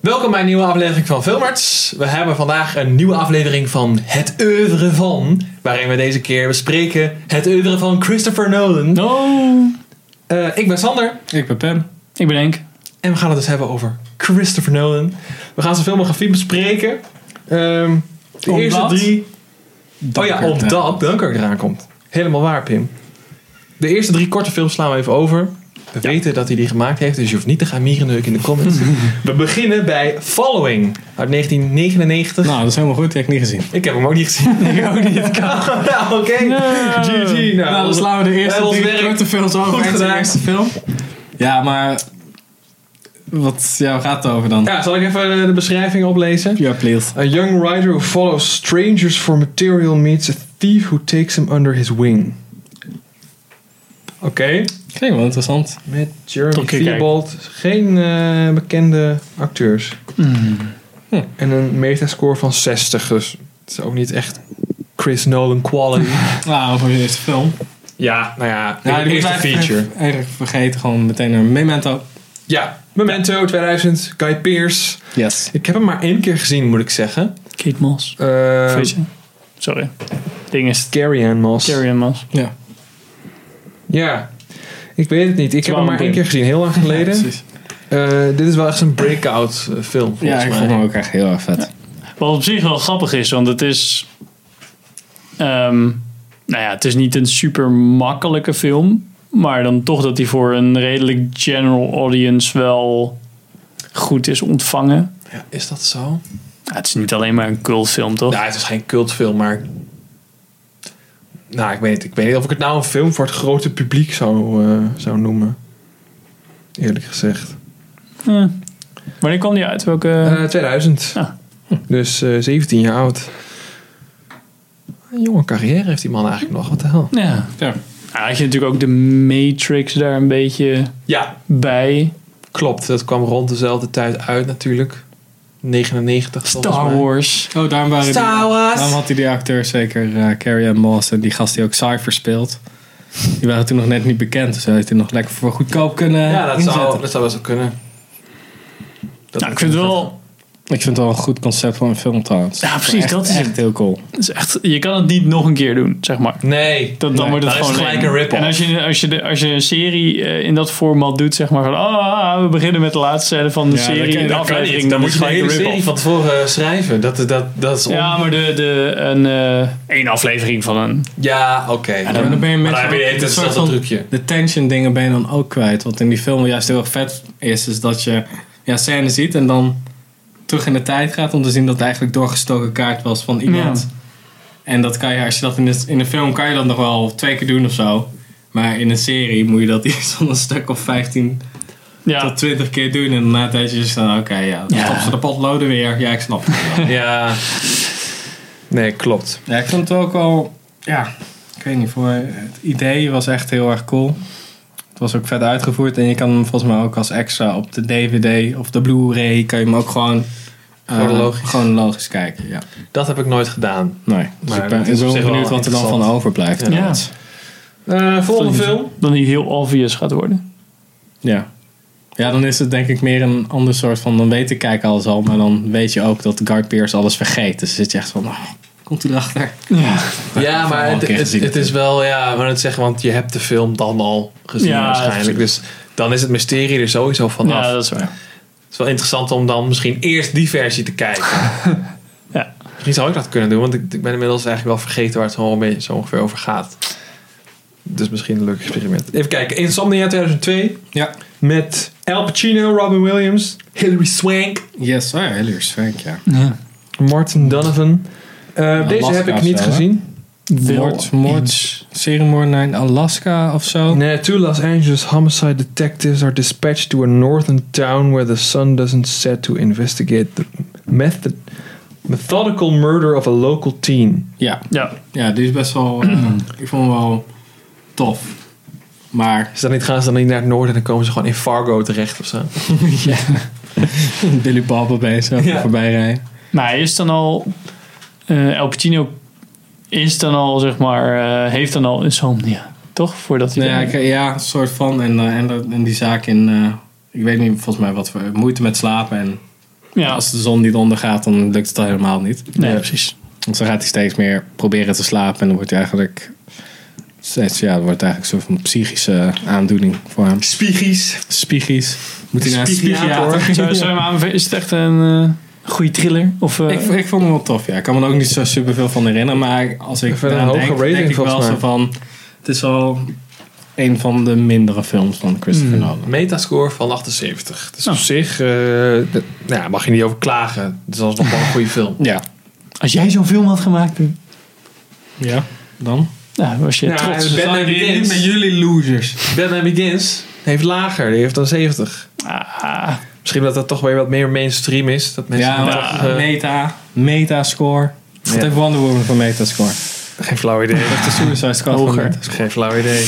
Welkom bij een nieuwe aflevering van Filmarts. We hebben vandaag een nieuwe aflevering van Het Oeuvre van. Waarin we deze keer bespreken het oeuvre van Christopher Nolan. Oh, Eh, ik ben Sander Ik ben Pam. ik ben Henk. en we gaan het dus hebben over Christopher Nolan. We gaan zijn filmografie bespreken. Ehm, de Omdat? eerste drie... Oh ja, Dunkirk, hè. omdat Dunkirk eraan komt. Helemaal waar, Pim. De eerste drie korte films slaan we even over. We weten dat hij die gemaakt heeft, dus je hoeft niet te gaan mierenneuken in de comments. we beginnen bij Following uit 1999. Nou, dat is helemaal goed. Die heb ik niet gezien. Ik heb hem ook niet gezien. Ik ook niet. nou, oké. GG. Nou, Nou, dan slaan we de eerste Wij ons drie werk korte films over. goed Het is de gedaan. eerste film. Ja, maar... Wat, ja, waar gaat het over dan? Ja, zal ik even eh, de beschrijving oplezen? Ja, please. A young rider who follows strangers for material meets a thief who takes him under his wing. Oké. Klinkt wel interessant. Met Jeremy Oké, kijk. Theobald. Geen eh, bekende acteurs. Hmm. Hm. En een metascore van 60. Dus het is ook niet echt Chris Nolan quality. Nou, voor de eerste film. ja, nou ja. Nou, de die eerste moeten we eigenlijk- feature. Eigenlijk vergeten gewoon meteen een memento. Ja. Memento 2000. Guy Pearce. Yes. Ik heb hem maar één keer gezien, moet ik zeggen. Kate Moss. Eh Weet je? Sorry. Ding is Carrie Ann Moss. Carrie en Moss. Ja. Ja. Ik weet het niet. Ik heb hem maar één keer gezien, heel lang Ja, geleden. precies. Eh, dit is wel echt een breakout eh, film, Ja, volgens ik vond mij. hem ook echt heel erg vet. Wat op zich wel grappig is, want het is... ehm, nou ja, het is niet een super makkelijke film. Maar dan toch dat hij voor een redelijk general audience wel goed is ontvangen. Ja, is dat zo? Ja, het is niet alleen maar een cultfilm, toch? Nou, het is geen cultfilm, maar... Nou, ik weet, niet. ik weet niet of ik het nou een film voor het grote publiek zou, eh, zou noemen. Eerlijk gezegd. Ja. Wanneer kwam die uit? Welke... Eh, 2000. Ja. Dus eh, 17 jaar oud. Een jonge carrière heeft die man eigenlijk nog. Wat de hel? ja. Ja. Nou, had je natuurlijk ook de Matrix daar een beetje Ja, bij. Klopt, dat kwam rond dezelfde tijd uit natuurlijk. 99 volgens Star mij. Wars. Oh, daarom waren die... Star Wars. Daarom had hij die acteur zeker eh, Carrie Ann Moss en die gast die ook Cypher speelt. Die waren toen nog net niet bekend, dus hij heeft hij nog lekker voor goedkoop kunnen Ja, dat inzetten. zou, dat zou best wel kunnen. Dat Nou, ik vind het wel... Ik vind het wel een goed concept van een film trouwens. Ja, precies, Echt- dat is echt het. heel cool. het is echt, je kan het niet nog een keer doen, zeg maar. Nee. Dat, dan Nee, wordt het dan is gewoon het gelijk lame. een rip-off. En als je, als, je de, als je een serie eh, in dat format doet, zeg maar van... Ah, we beginnen met de laatste scène van de Ja, dat serie kan- in de dat kan aflevering. Dan moet is je de het hele gelijk een serie rip-off. van tevoren eh, schrijven. Dat, dat, dat is on- Ja, maar de, de, een, eh één aflevering van een... Ja, oké. En dan ben je maar met dan heb je de hele tijd hetzelfde trucje. De tension dingen ben je dan ook kwijt. Wat in die film juist heel erg vet is, is dat je ja, scène ziet en dan terug in de tijd gaat om te zien dat het eigenlijk doorgestoken kaart was van iemand. En dat kan je, als je dat in, de, in een film kan je dat nog wel twee keer doen of zo. Maar in een serie moet je dat iets van een stuk of 15 Ja, tot 20 keer doen. En na een tijdje is het dan, oké, ja, dan Ja. stopt ze de potloden weer. Ja, ik snap het. Ja. Nee, klopt. Ja, ik vond het ook wel. Ja, ik weet niet voor. Het idee was echt heel erg cool. Het was ook vet uitgevoerd en je kan hem volgens mij ook als extra op de DVD of de Blu-ray kan je hem ook gewoon. eh, Chronologisch. chronologisch kijken, ja. Dat heb ik nooit gedaan. Nee. Dus Maar ik ben, dat ik is ben op zich wel benieuwd wat er dan van interessant. overblijft. Ja. inderdaad. Eh, volgende Sorry. film. dan die heel obvious gaat worden. ja. Ja, dan is het denk ik meer een ander soort van. Dan weet de kijker alles al, maar dan weet je ook dat Guy Pearce alles vergeet. Dus dan zit je echt van. oh, komt hij erachter? Ja, Ja, maar al een het, keer het, gezien het is wel, ja, maar het zeggen, want je hebt de film dan al gezien Ja, waarschijnlijk. Dus dan is het mysterie er sowieso vanaf. ja dat is waar. Het is wel interessant om dan misschien eerst die versie te kijken. Ja. Misschien zou ik dat kunnen doen, want ik, ik ben inmiddels eigenlijk wel vergeten waar het zo, een beetje, zo ongeveer over gaat. Dus misschien een leuk experiment. Even kijken, Insomnia 2002 Ja. met Al Pacino, Robin Williams, Hilary Swank, Yes, oh ja, heel erg sterk, ja. Ja. Martin Donovan. Eh, deze Alaska heb ik of niet zo, hè? gezien. Moord, moord, seriemoord naar in Alaska of zo. Nee, two Los Angeles homicide detectives are dispatched to a northern town where the sun doesn't set to investigate the method, methodical murder of a local teen. Ja, Ja, ja, die is best wel. eh, ik vond hem wel tof. Maar Ze dan niet, gaan ze dan niet naar het noorden en dan komen ze gewoon in Fargo terecht of zo. Billy Bob opeens zo Ja. voorbij rijden. Maar hij is dan al. eh Al Pacino is dan al, zeg maar, eh, heeft dan al insomnia. Toch? Voordat hij. Nou ja, ik, ja, soort van. En, eh, en, dat- en die zaak in. eh, ik weet niet volgens mij wat voor moeite met slapen en Ja, Als de zon niet ondergaat, dan lukt het al helemaal niet. nee, Ja. precies. Want dan gaat hij steeds meer proberen te slapen. En dan wordt hij eigenlijk... Steeds, ja, dan wordt het eigenlijk een soort van psychische aandoening voor hem. Spiegies. Spiegels. Moet hij naar een Psychiater. psychiater? Zou, zou je hem aanbevelen? Is het echt een eh, goede thriller? Of, eh, Ik, ik vond hem wel tof, ja. Ik kan me er ook niet zo superveel van herinneren. Maar als ik Even een eraan hoge denk, rating, denk ik wel volgens zo mij. van... Het is wel een van de mindere films van Christopher Hmm. Nolan. Metascore van 78. Dus Nou. op zich eh, d- nou, ja, mag je niet over klagen. Het is alsnog wel een goede film. Ja. Als jij zo'n film had gemaakt, toen, Ja, dan? nou, was je Ja, trots. en- Batman Begins. jullie losers. Batman Begins heeft lager. Die heeft dan 70. Ah, Misschien dat dat toch weer wat meer mainstream is. Dat mensen Ja, dan maar toch, eh, meta. Metascore. Wat Ja. heeft Wonder Woman voor metascore? eh, geen flauw idee. Wat heeft de Suicide Squad voor Hoger. metascore? Geen flauw idee.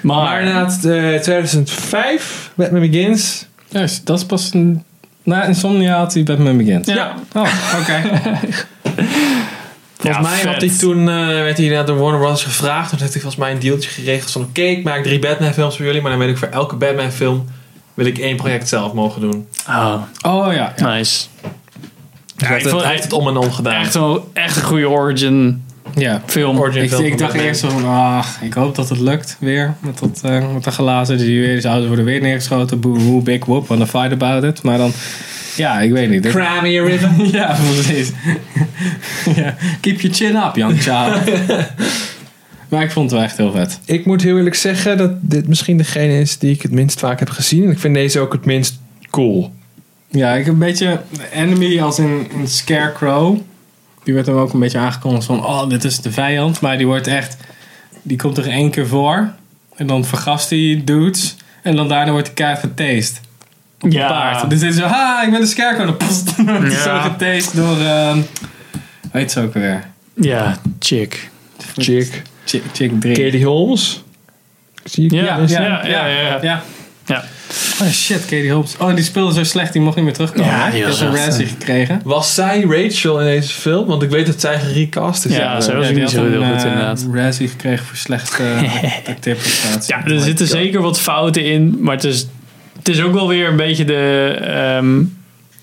maar, Maar inderdaad, eh, 2005, Batman Begins. Juist, dat is pas een... Na Insomnia had hij Batman Begins. Ja. Oh, oké. Volgens Ja, mij vet. had hij toen, eh, werd hij naar de Warner Brothers gevraagd. Toen heeft hij volgens mij een deeltje geregeld van... Oké, ik maak drie Batman films voor jullie. Maar dan wil ik voor elke Batman film... wil ik één project zelf mogen doen. Ah, Oh ja. ja. nice. Dus hij ik heeft het- vond- hij heeft het om en om gedaan. Echt, wel, echt een goede origin ja. film. Origin Ik, film ik van dacht Batman. eerst zo van, ah, ik hoop dat het lukt weer met dat, eh met dat glazen. Die weer, die auto's worden weer neergeschoten. Boehoe, big whoop, wanna fight about it. Maar dan, ja, ik weet niet. Dus- Dit- Crimea River. ja, precies. ja. Keep your chin up, young child. maar ik vond het wel echt heel vet. Ik moet heel eerlijk zeggen dat dit misschien degene is die ik het minst vaak heb gezien. En ik vind deze ook het minst cool. Ja, ik heb een beetje enemy als in, in Scarecrow. Die werd hem ook een beetje aangekondigd van, oh, dit is de vijand. Maar die wordt echt, die komt er één keer voor. En dan vergast hij dudes. En dan daarna wordt hij kaart getased. ja. paard. Dus dit is zo, ha, ik ben de Scarecrow. Dan post, dan wordt hij Ja. zo getased door, ehm weet ze ook weer. Ja, chick. Chick. Chick, chick 3. Katie Holmes. Zie ik Ja, hier? ja, ja. ja, ja. Ja. Ja. Oh shit, Katie Holmes. Oh, die speelde zo slecht, die mocht niet meer terugkomen. Ja, Ja, die die was is een echt, eh, rancy gekregen. Was zij Rachel in deze film? Want ik weet dat zij gerecast is. Ja, zij was- Ja, niet die had zo heel een, goed, eh, inderdaad. Razzie gekregen voor slechte acteerprestatie. Ja, dus er zitten zeker wat fouten in, maar het is, het is ook wel weer een beetje de, ehm,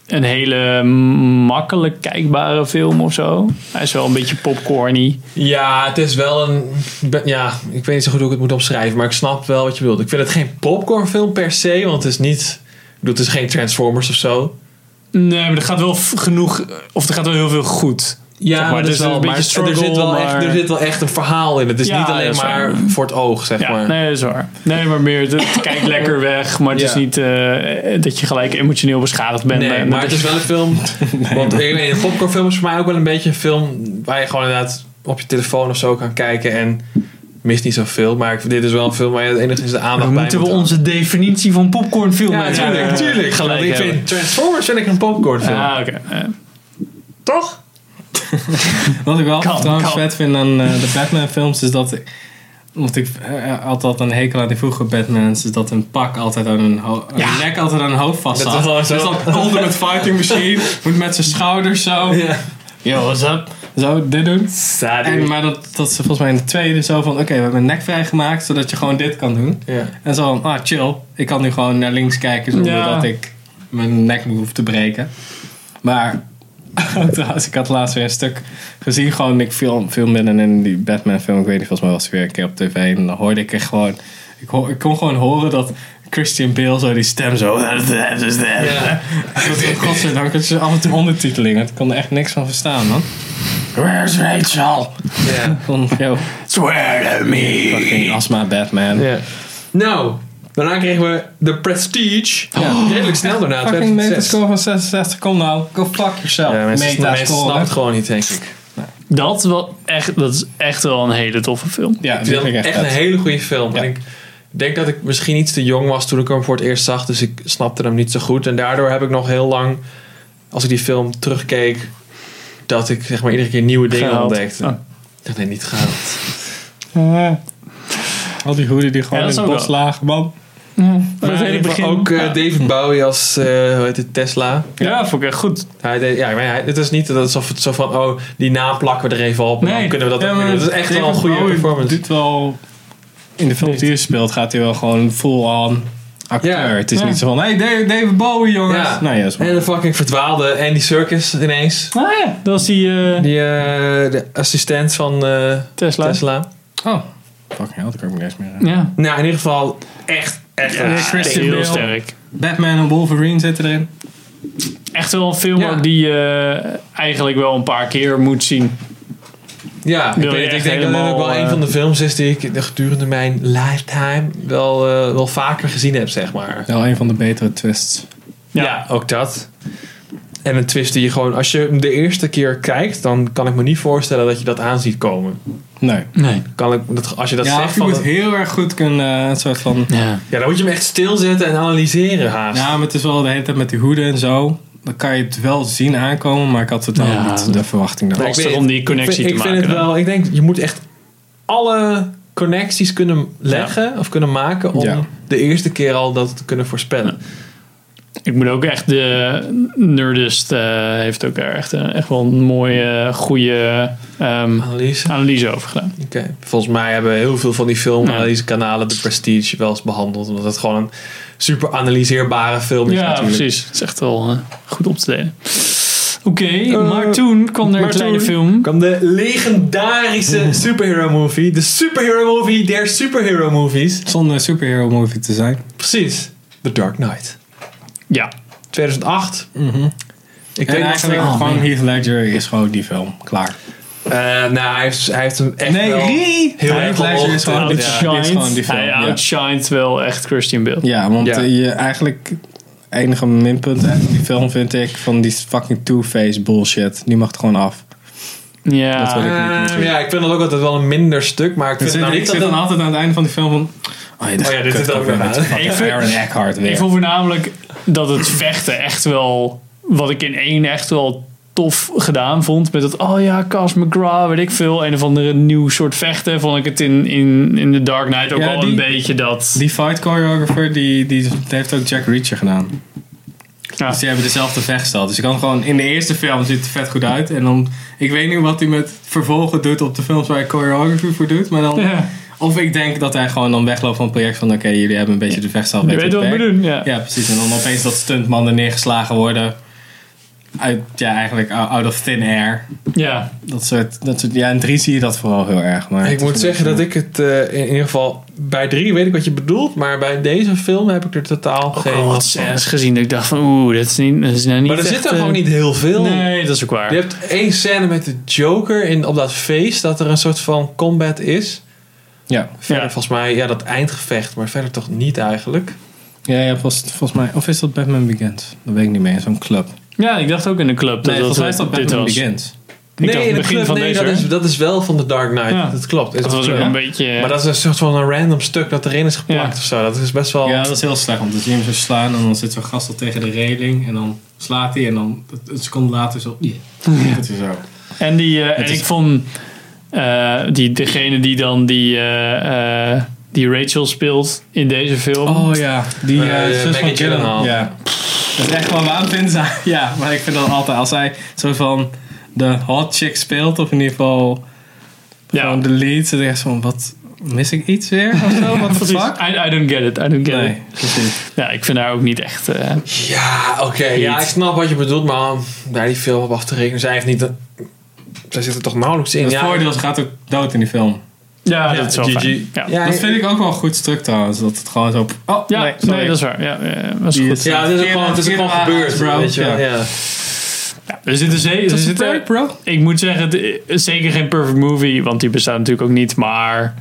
een hele makkelijk kijkbare film of zo. Hij is wel een beetje popcorny. Ja, het is wel een. be- Ja, ik weet niet zo goed hoe ik het moet omschrijven, maar ik snap wel wat je bedoelt. Ik vind het geen popcornfilm per se, want het is niet. Ik bedoel, het is geen Transformers of zo. Nee, maar er gaat wel f- genoeg, of er gaat wel heel veel goed. Ja, Zeg maar, maar, het het is wel een maar beetje er, zit struggle, wel echt, er maar- zit wel echt een verhaal in. Het is Ja, niet alleen dat is maar waar. voor het oog, zeg Ja, maar. nee, dat is waar. Nee, maar meer, het, het kijkt lekker weg, maar het is Ja. niet eh, dat je gelijk emotioneel beschadigd bent. Nee, eh, maar dat het is wel een film. want ik weet, een popcornfilm is voor mij ook wel een beetje een film waar je gewoon inderdaad op je telefoon of zo kan kijken en mist niet zoveel. Maar ik- dit is wel een film waar je enigszins de aandacht bij moet houden. definitie van popcornfilm Ja, natuurlijk, natuurlijk. Gelijk Want ik hebben. vind Transformers vind ik een popcornfilm. Ah, oké. Eh, Toch? Wat ik wel Kalm, trouwens kalm. vet vind aan eh, de Batman films is dat... Want ik eh, had altijd een hekel aan die vroege Batmans. Is dat een pak altijd aan een, ho- Ja. een nek altijd aan een hoofd vast Dat zat. was wel Dus zo. dat Ultimate Fighting Machine moet met zijn schouders zo... Ja. Yo, what's up? Zo, dit doen. En, maar dat, dat ze volgens mij in de tweede zo van... Oké, we hebben een nek vrijgemaakt, zodat je gewoon dit kan doen. Ja. En zo van, ah chill, ik kan nu gewoon naar links kijken zonder Ja. dat ik mijn nek me hoef te breken. Maar ook trouwens, ik had laatst weer een stuk gezien. Gewoon, ik viel, viel midden in die Batman film. Ik weet niet, volgens mij was hij weer een keer op tv. En dan hoorde ik er gewoon... Ik, hoor, ik kon gewoon horen dat Christian Bale zo die stem zo... Ja. Godzijdank, het is af en toe ondertiteling. want Ik kon er echt niks van verstaan, man. Where's Rachel? Ja. Van, yo, Swear to me. fucking astma Batman. Ja. Nou, daarna kregen we The Prestige. Ja. Redelijk snel daarna. Fucking 2006. metascore van 66, kom nou. Go fuck yourself. Ja, mensen, mensen snappen metascore. het gewoon niet, denk ik. Dat, wel echt, dat is echt wel een hele toffe film. Ja, Ik die vind vind ik het echt echt een vet. hele goede film. Ja. En ik denk dat ik misschien iets te jong was toen ik hem voor het eerst zag. Dus ik snapte hem niet zo goed. En daardoor heb ik nog heel lang, als ik die film terugkeek, dat ik zeg maar iedere keer nieuwe dingen Gehaald. ontdekte. Oh. Ik dacht, nee, niet gehaald. Al die hoeden die gewoon Ja, dat in is het ook bos lagen, man. Maar Maar in ieder geval ook eh, David Bowie als, eh, hoe heet het, Tesla. ja, vond ik echt goed. Hij deed, ja, maar hij, het is niet dat het zo, zo van, oh, die naam plakken we er even op. Nee. Nee. Dan kunnen we dat ook weer doen. Dat is echt wel een goede David Bowie performance. doet wel... In de film die hij speelt gaat hij wel gewoon full on acteur. Ja. Het is Ja. niet zo van, hé, hey, David Bowie, jongens. Ja. Nou ja, is En de fucking verdwaalde Andy Circus ineens. Ah ja, dat is die eh, Die, eh, de assistent van eh, Tesla. Tesla. Oh, fucking hell, dat kan ik me niet eens meer aan. Ja, Nou, in ieder geval echt, echt ja, een Christian heel Bale. sterk. Batman en Wolverine zitten erin. Echt wel een film Ja. ook die je eh, eigenlijk wel een paar keer moet zien. Ja, ik, Wil je weet, het. ik echt denk dat dit ook wel helemaal, een eh, van de films is die ik de gedurende mijn lifetime wel, eh, wel vaker gezien heb, zeg maar. Wel een van de betere twists. Ja. Ja. ook dat. En een twist die je gewoon, als je hem de eerste keer kijkt, dan kan ik me niet voorstellen dat je dat aan ziet komen. Nee. Nee. Kan ik, dat, als je dat ja, zegt, of je van, moet heel erg goed kunnen, eh, een soort van... Ja. ja, dan moet je hem echt stilzetten en analyseren haast. Ja, maar het is wel de hele tijd met die hoeden en zo. Dan kan je het wel zien aankomen, maar ik had totaal Ja. niet de verwachting daarvan. Nee, Lastig weet- om die connectie ik vind, te Ik vind maken het wel, ik denk, je moet echt alle connecties kunnen leggen of kunnen maken om Ja. de eerste keer al dat te kunnen voorspellen. Ik moet ook echt de Nerdist eh, heeft ook daar echt, een- echt wel een mooie, goede ehm, Analyse. analyse over gedaan. Oké. Volgens mij hebben heel veel van die filmanalysekanalen de Prestige wel eens behandeld. Omdat het gewoon een super analyseerbare film is ja, natuurlijk. precies. Het is echt wel eh, goed op te delen. Oké, Eh, maar toen kwam er een maar kleine toen film. kwam de legendarische superhero movie. De superhero movie der superhero movies. Zonder superhero movie te zijn. Precies. The Dark Knight. Ja, 2008. Ik Mhm. en weet nog eigenlijk steeds- oh, gewoon man. Heath Ledger is gewoon die film. Klaar. Eh, nou, hij heeft, hij heeft hem echt Nee, wel Rie! heel Hij erg lijkt omhoog er eens getrokken. van- dit- outshined. dit is gewoon die film, Hij ja. outshined wel echt Christian Bale. Ja, want Ja. eh, je eigenlijk het enige minpunt van die film vind ik van die fucking Two-Face bullshit. Die mag er gewoon af. Dat Ja, wil ik. Ja. Eh, ja, ik vind dat ook altijd wel een minder stuk, maar ik Ik vind zit, nou ik niet zit dat dan het... altijd aan het einde van die film van... Oh ja, dit, Oh ja, dit kut is ook weer weer met aan. fucking Ik vind- Aaron Eckhart weer. ik vond voornamelijk dat het vechten echt wel, wat ik in één echt wel tof gedaan vond. Met dat, oh ja, Cas McGraw, weet ik veel. Een of andere nieuw soort vechten. Vond ik het in, in, in The Dark Knight ook Ja, al die- een beetje dat. Die fight choreographer, die, die, die heeft ook Jack Reacher gedaan. ja. Dus die hebben dezelfde vechtstijl. Dus je kan gewoon in de eerste film ziet het er vet goed uit. En dan, ik weet niet wat hij met vervolgen doet op de films waar hij choreography voor doet. Maar dan, Ja. Of ik denk dat hij gewoon dan wegloopt van het project van... Oké, jullie hebben een beetje de vechtstijl. Je weet wat we beperkt. doen, ja. Ja, precies. En dan opeens dat stuntmannen neergeslagen worden. Uit, ja, eigenlijk out out of thin air. Ja. Dat soort, dat soort, ja, in 3 zie je dat vooral heel erg. Maar Ik moet zeggen dat ik het eh, in ieder geval... Bij drie weet ik wat je bedoelt, maar bij deze film heb ik er Oh, totaal Ook geen al wat last van. scènes gezien dat ik dacht van, oeh, dat is, niet, dat is nou niet Maar er echt, zit er eh, gewoon niet heel veel. Nee, dat is ook waar. Je hebt één scène met de Joker in, op dat feest, dat er een soort van combat is. Ja, Verder Ja. volgens mij, ja, dat eindgevecht, maar verder toch niet eigenlijk. ja, ja volgens, volgens mij... Of is dat Batman Begins? Dat weet ik niet meer. Zo'n club. Ja, ik dacht ook in de club. Nee, dat volgens mij is dat dat dit Batman was. Begins. Ik nee, dacht het in de begin club, van nee, deze. dat is, hè? dat is wel van de Dark Knight. Ja. Dat klopt. Is dat op was club, ook hè? een beetje... eh, Maar dat is een soort van een random stuk dat erin is geplakt Ja. of zo. Dat is best wel. Ja, dat is heel slecht. Want dan zie je hem zo slaan en dan zit zo'n gast al tegen de reling. En dan slaat hij en dan een seconde later zo... Ja. Dat is zo. En, die, eh, en is- ik vond eh, die, degene die dan die, eh, eh, die Rachel speelt in deze film. Oh ja, die Eh, eh, zus Maggie van Gyllenhaal. Gyllenhaal. Ja. Dat is echt gewoon waarom vinden ze Ja, maar ik vind dat altijd als hij zo van de hot chick speelt, of in ieder geval Ja. gewoon de lead, dan denk je van wat mis ik iets weer of zo? Wat the Precies. fuck? I, I don't get it, I don't get Nee, it. precies. Ja, ik vind haar ook niet echt... eh, Ja, oké. Ja, ik snap wat je bedoelt, maar daar die film op af te rekenen. Zij heeft niet. dat- Zij zit er toch nauwelijks in. Het ja, voordeel is, gaat ook dood in die film. ja, Ja, dat is wel GG. fijn. Ja. Ja, Dat vind ik ook wel een goed stuk trouwens, dat het gewoon zo... Oh, Ja, nee, nee, sorry. dat is waar. Ja, ja, was Die goed. is- Ja, het is ook gewoon, het is ook gewoon gebeurd, Bro, Weet je wel. ja. Ja. Ja, er zitten ze- Dat er is een zitten- break, bro. Ik moet zeggen, het is zeker geen perfect movie, want die bestaat natuurlijk ook niet. Maar er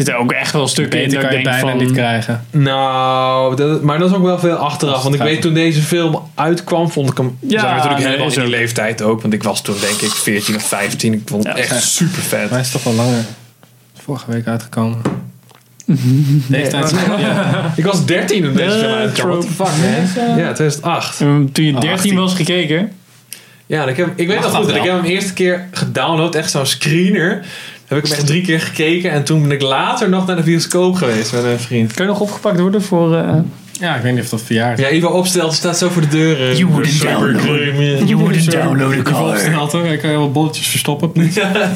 zitten ook echt wel stukken in Beter dat ik kan je denk bijna van... niet krijgen. Nou, dat, maar dat is ook wel veel achteraf. Want ik weet toen deze film uitkwam, vond ik hem Ja, zat ik natuurlijk nee, helemaal is in die ook. leeftijd ook. Want ik was toen denk ik 14 of 15. Ik vond het Ja, echt super vet. Maar hij is toch wel langer vorige week uitgekomen. Leeftijd Ik was 13 toen deze Eh, film uitkwam. What the trope. fuck, man? Ja, 2008. Ehm, Toen je 13 18. was gekeken... Ja, en ik, heb, ik weet nog dat goed dat ik wel? heb hem de eerste keer gedownload, echt zo'n screener. Heb ik hem echt drie keer gekeken en toen ben ik later nog naar de bioscoop geweest met een vriend. Kun je nog opgepakt worden voor... eh, Ja, ik weet niet of dat verjaardag Ja, Ivo opstelt staat zo voor de deur. You wouldn't download. download. wouldn't download a Ik heb wel opgesteld hoor, ik kan wel bolletjes verstoppen. Ja. Ik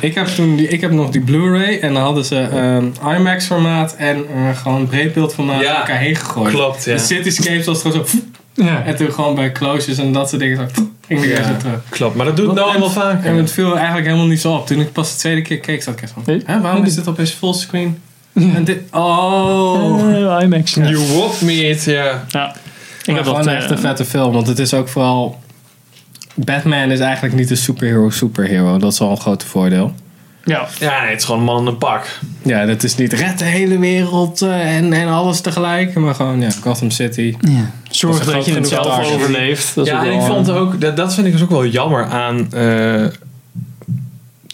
Ik heb, toen die, ik heb nog die Blu-ray en dan hadden ze ehm, IMAX-formaat en eh, gewoon breedbeeldformaat Ja, door elkaar heen gegooid. Klopt, ja. De Cityscapes was gewoon zo. Ja. En toen gewoon bij closes en dat soort dingen zo. Ging ik weer Ja. zo terug. Klopt, maar dat doet Want- nou en- allemaal vaker. En het viel eigenlijk helemaal niet zo op. Toen ik pas de tweede keer keek, zat ik echt van... Nee. Hè, waarom is dit opeens fullscreen? En dit... Oh! Oh. IMAX. Ja. You want me it, ja. Ja. Ik heb gewoon dat, echt eh, een vette film. Want het is ook vooral... Batman is eigenlijk niet een superhero superhero. Dat is al een groot voordeel. Ja. Ja, nee, het is gewoon een man in een pak. Ja, dat is niet red de hele wereld eh, en, en alles tegelijk. Maar gewoon ja, Gotham City. Zorg Dat is dat, een je het groot zelf target. overleeft. Dat is ja, ook en wel, ik vond ook, dat, dat vind ik dus ook wel jammer aan, eh,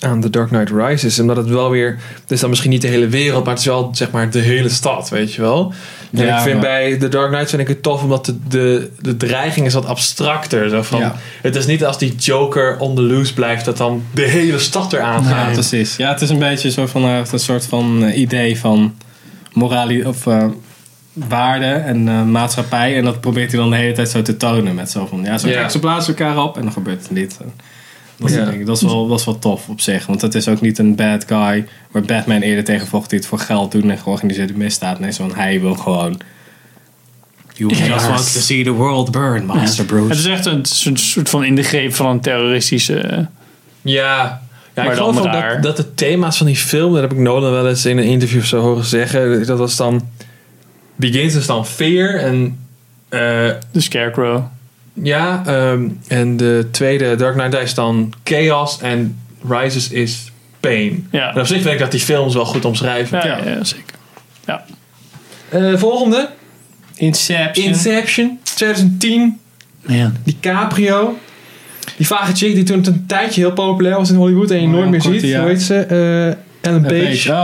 aan The Dark Knight Rises. Omdat het wel weer, het is dan misschien niet de hele wereld, maar het is wel zeg maar de hele stad, weet je wel. En Ja, ik vind maar- bij The Dark Knight vind ik het tof, omdat de, de, de dreiging is wat abstracter. Zo van, Ja. Het is niet als die Joker on the loose blijft, dat dan de hele stad eraan Ja, gaat. precies. Ja, het is een beetje zo van, eh, een soort van eh, idee van morali of eh, waarde en eh, maatschappij. En dat probeert hij dan de hele tijd zo te tonen met zo van, ja, zo Ja. kijk, ze blazen elkaar op en dan gebeurt er dit. En Dat, Ja. soort dingen. dat, is wel, dat is wel tof op zich, want het is ook niet een bad guy waar Batman eerder tegen vocht die het voor geld doen en georganiseerde misdaad. Nee, zo'n hij wil gewoon... You Ja. just want to see the world burn, Master Bruce. Het is echt een, het is een soort van in de greep van een terroristische... eh, Ja. Ja, ik Maar dan geloof ook raar. dat, dat de thema's van die film, dat heb ik Nolan wel eens in een interview zo horen zeggen, dat was dan, begins is dan fear en eh, de Scarecrow. ja, ehm, en de tweede Dark Knight is dan chaos en rises is pain. Ja. En op zich vind ik dat die films wel goed omschrijven. Ja, Ja. ja, zeker. Ja. Eh, volgende, Inception. Inception, 2010, ja. DiCaprio. Die vage chick die toen een tijdje heel populair was in Hollywood en je Oh, nooit ja, meer korte, ziet. ja. Hoe heet ze? Eh, Ellen Een Page. beetje. Oh.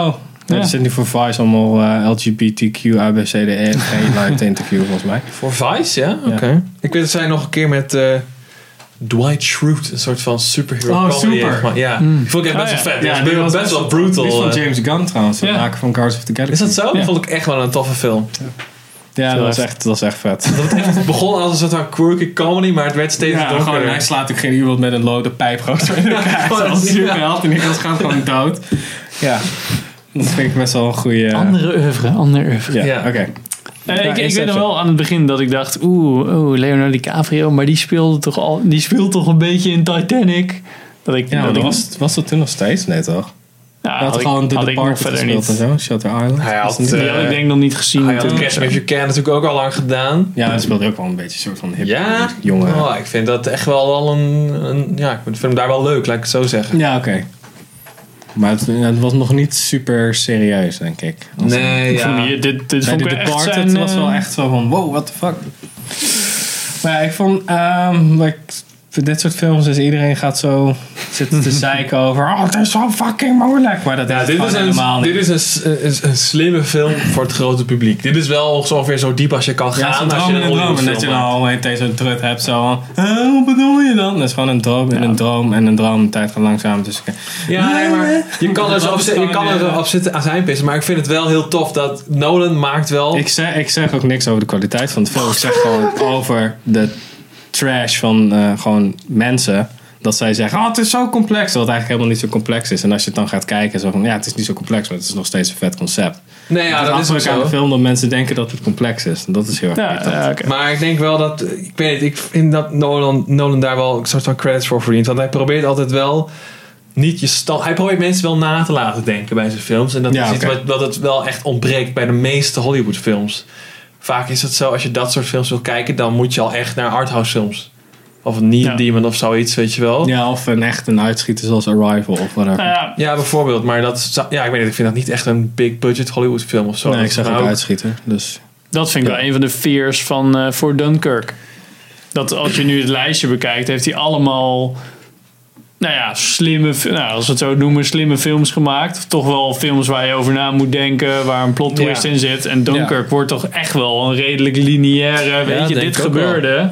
Ja. Ja. Er zit nu voor Vice allemaal eh, LGBTQ, ABCDE, E, geen live te interviewen volgens mij. Voor Vice, ja? Oké. Ik weet dat zij nog een keer met eh, Dwight Schrute, een soort van superhero Oh, comedy super. heeft gemaakt. Ja, die vond ik echt Oh, best wel ja. vet. Ja, die was best wel brutal. Die van eh. James Gunn trouwens, de Ja. maker van Guards of the Galaxy. Is dat zo? Ja. Vond ik echt wel een toffe film. Ja, Zo dat is echt. echt, dat is echt vet. Dat het echt begon als een soort van quirky comedy, maar het werd steeds Ja, gewoon, donkerder. hij slaat ook geen iemand met een lode pijp gewoon zo in elkaar. Oh, Zoals ja. superheld en die gast gaat gewoon dood. Ja, dat vind ik best wel een goede... Andere oeuvre, andere oeuvre. Ja, Ja. oké. Ja, Eh, ik, ik weet nog Inception. wel aan het begin dat ik dacht, oeh, oeh Leonardo DiCaprio, maar die speelde toch al, die speelt toch een beetje in Titanic. Dat ik, Ja, maar dat dat ik, was, was dat toen nog steeds? Nee toch? ja, Hij had had ik, gewoon The had ik nog Departed verder gespeeld en niet. zo, Shutter Island. Hij had, Was Ah, dat niet- eh, Die had ik denk ik nog niet gezien. dus- Hij had toen. Catch Me If You Can natuurlijk ook al lang gedaan. Ja, hij speelde ook wel een beetje een soort van hip Ja? jongen. Oh, ik vind dat echt wel al een, een- Ja, ik vind hem daar wel leuk, laat ik het zo zeggen. Ja, oké. Maar het, het was nog niet super serieus, denk ik. Als- Nee, Ik vond ja. die- dit, dit Bij vond de ik echt Departed zijn, was wel eh, echt zo van, wow, what the fuck. Maar ja, ik vond, ehm, like, voor dit soort films is iedereen gaat zo zitten te zeiken over, oh, het is zo fucking moeilijk. Maar dat Ja, is dit is, normaal een, dit is een, s- een, een slimme film voor het grote publiek. Dit is wel zo ongeveer zo diep als je kan ja, gaan zo'n als je droom in een een droom. En Hollywood dat je film dan maakt. al tegen zo'n trut hebt, zo van, "Huh, hoe bedoel je dan? Dat is gewoon een droom en een droom en een droom. De tijd gaat langzaam, dus ik- Ja, nee, maar je kan er zo Dat op, is zi- je gewoon, kan er ja. zo op zitten aan zijn pissen. Maar ik vind het wel heel tof dat Nolan maakt wel... Ik zeg, ik zeg ook niks over de kwaliteit van de film. Ik zeg gewoon over de trash van eh, gewoon mensen. Dat zij zeggen, oh, het is zo complex. Wat eigenlijk helemaal niet zo complex is. En als je het dan gaat kijken, zo van, ja, het is niet zo complex, maar het is nog steeds een vet concept. nee, ja, het dat is ook afdruk aan zo. de film dat mensen denken dat het complex is. En dat is heel erg Ja, irritant. ja, oké. Maar ik denk wel dat, ik weet niet, ik vind dat Nolan, Nolan daar wel een soort van credits voor verdient. Want hij probeert altijd wel niet je stand. Hij probeert mensen wel na te laten denken bij zijn films. En dat Ja, is iets oké. wat, wat het wel echt ontbreekt bij de meeste Hollywood films. Vaak is het zo, als je dat soort films wil kijken, dan moet je al echt naar arthouse films. Of een Neon Ja. Demon of zoiets, weet je wel. Ja. Ja, of een echt een uitschieter zoals Arrival of whatever. Nou ja, bijvoorbeeld. Maar dat, is- ja, ik weet niet, ik vind dat niet echt een big budget Hollywood film of zo. nee, Dat ik zeg is ook nou ook- uitschieter. Dus. dat vind ik wel een van de fears van eh, voor Dunkirk. Dat als je nu het lijstje bekijkt, heeft hij allemaal, nou ja, slimme, fi- nou, als we het zo noemen, slimme films gemaakt. Of toch wel films waar je over na moet denken, waar een plot twist Ja. in zit. En Dunkirk wordt toch echt wel een redelijk lineaire, weet je, denk dit ik ook wel. gebeurde.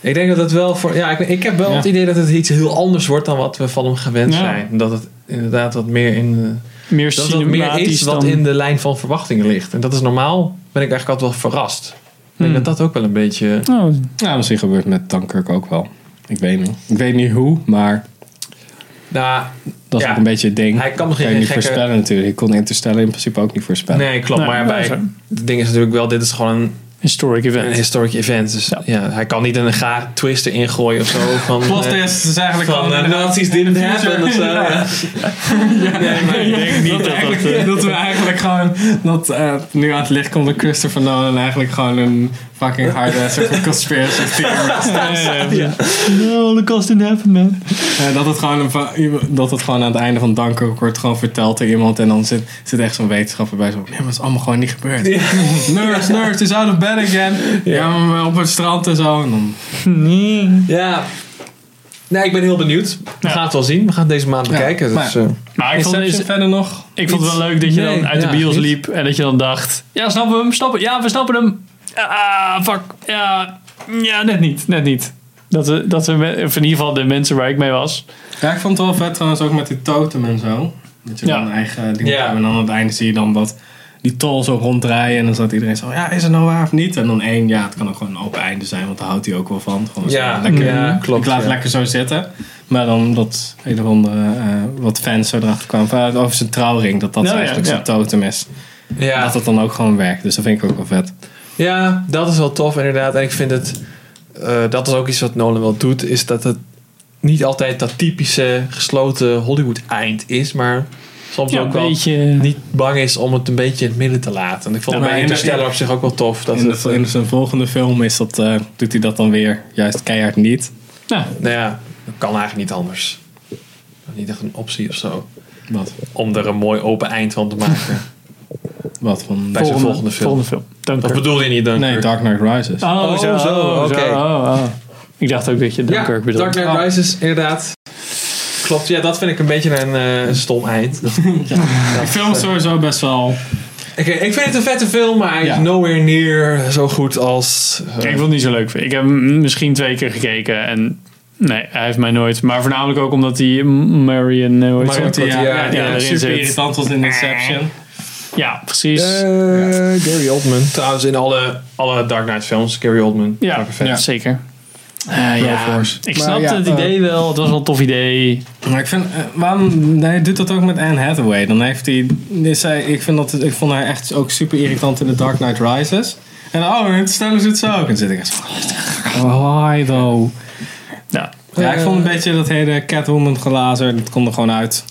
Ik denk dat het wel voor. Ja, ik, ik heb wel Ja. het idee dat het iets heel anders wordt dan wat we van hem gewend Ja. zijn. Dat het inderdaad wat meer in. eh, Meer Dat het meer cinematisch is wat dan... in de lijn van verwachtingen ligt. En dat is normaal. Ben ik eigenlijk altijd wel verrast. Ik denk Hmm. dat dat ook wel een beetje. Oh, Ja, misschien gebeurt het met Dunkirk ook wel. Ik weet niet. Ik weet niet hoe, maar Nou, Dat is Ja. ook een beetje het ding. Hij kan Dat misschien je niet geen gekke- voorspellen natuurlijk. Ik kon Interstellar in principe ook niet voorspellen. nee, klopt. Nou, maar nou, bij, zo. het ding is natuurlijk wel, dit is gewoon een, Historic een event. historic event. Dus ja. Ja. hij kan niet een gaar twist erin gooien of zo. Van, Plot eh, twist is eigenlijk van gewoon... eh, Nazis didn't happen of zo. eh. Ja. nee, maar ik denk niet dat, dat dat, eigenlijk- eh, dat we eigenlijk gewoon... Dat eh, nu aan het licht komt dat Christopher Nolan eigenlijk gewoon een fucking hard-ass soort van conspiracy theorist is. No, Holocaust didn't happen, man. Eh, dat, het gewoon een, va- dat het gewoon aan het einde van Dunkirk wordt gewoon verteld door iemand. En dan zit, zit echt zo'n wetenschapper bij zo. Nee, maar het is allemaal gewoon niet gebeurd. Nerds, nerds, is out of bed again. Ja, maar op het strand en zo. En dan, Nee. ja. Nee, ik ben heel benieuwd. We Ja. gaan het wel zien. We gaan het deze maand Ja, bekijken. maar- Dus, eh, Maar ik vond, Inception is, verder nog? ik vond het wel leuk dat je Nee, dan uit ja, de bios niet. liep en dat je dan dacht... Ja, snappen we hem? Snappen, ja, we snappen hem. Ah, fuck. Ja, ja net niet. Net niet. Dat, we- dat we, me- of in ieder geval de mensen waar ik mee was. Ja, ik vond het wel vet trouwens ook met die totem en zo. Dat je Ja. dan een eigen ding Ja. hebt. En dan aan het einde zie je dan dat die tol zo ronddraaien. En dan zat iedereen zo, ja, is het nou waar of niet? En dan één, ja, het kan ook gewoon een open einde zijn. Want daar houdt hij ook wel van. Gewoon zo ja, lekker ja, klopt. ik laat ja. het lekker zo zitten. Maar dan dat een of andere eh, wat fans zo erachter kwamen. Vanuit over zijn trouwring, dat dat Nou ja, eigenlijk ja. zijn totem is. Ja. Dat dat dan ook gewoon werkt. Dus dat vind ik ook wel vet. Ja, dat is wel tof inderdaad. En ik vind het, eh, dat is ook iets wat Nolan wel doet, is dat het niet altijd dat typische gesloten Hollywood-eind is, maar soms Ja, een ook wel beetje... niet bang is om het een beetje in het midden te laten. En ik vond Ja, mij maar in de- Interstellar op zich ook wel tof. Dat in, het, de, eh, in zijn volgende film is dat, eh, doet hij dat dan weer juist keihard niet. Nou, nou ja, dat kan eigenlijk niet anders. Niet echt een optie of zo. Wat, Om er een mooi open eind van te maken. wat van... Bij zijn volgende film. Volgende film. Dank dat u. bedoel je niet, dan? Nee, Dark Knight Rises. Oh, Oh, zo, zo, oh, oké. zo, oh, oh. Ik dacht ook dat je Ja, Dunkirk bedoelde. Ah, Dark Knight Oh. Rises, inderdaad. Klopt, ja, dat vind ik een beetje een eh, stom eind. Dat- Die film is sowieso best wel... Oké, ik vind het een vette film, maar hij is Ja. nowhere near zo goed als... eh, Ja, ik vond het niet zo leuk. vinden. Ik heb hem misschien twee keer gekeken en nee, hij heeft mij nooit. Maar voornamelijk ook omdat die Marion, eh, hoe heet ze? Marion Cotillard. ja, ja, die Ah. ja, erin super zit. irritant was in Inception. Ja, precies. eh, Gary Oldman. Trouwens, in alle, alle Dark Knight films, Gary Oldman. ja, Fucking vet. ja, zeker. Eh, ja, Force. ik Maar snapte ja, het eh, idee wel. Het was wel een tof idee. Maar ik vind, eh, waarom nee, doet dat ook met Anne Hathaway? Dan heeft hij, is hij- ik, vind dat, ik vond haar echt ook super irritant in The Dark Knight Rises. En oh, in Interstellar zit ze ook. En dan zit ik echt zo, oh, hi though. Ja. Ja, ik vond een beetje dat hele Catwoman glazer, dat komt er gewoon uit.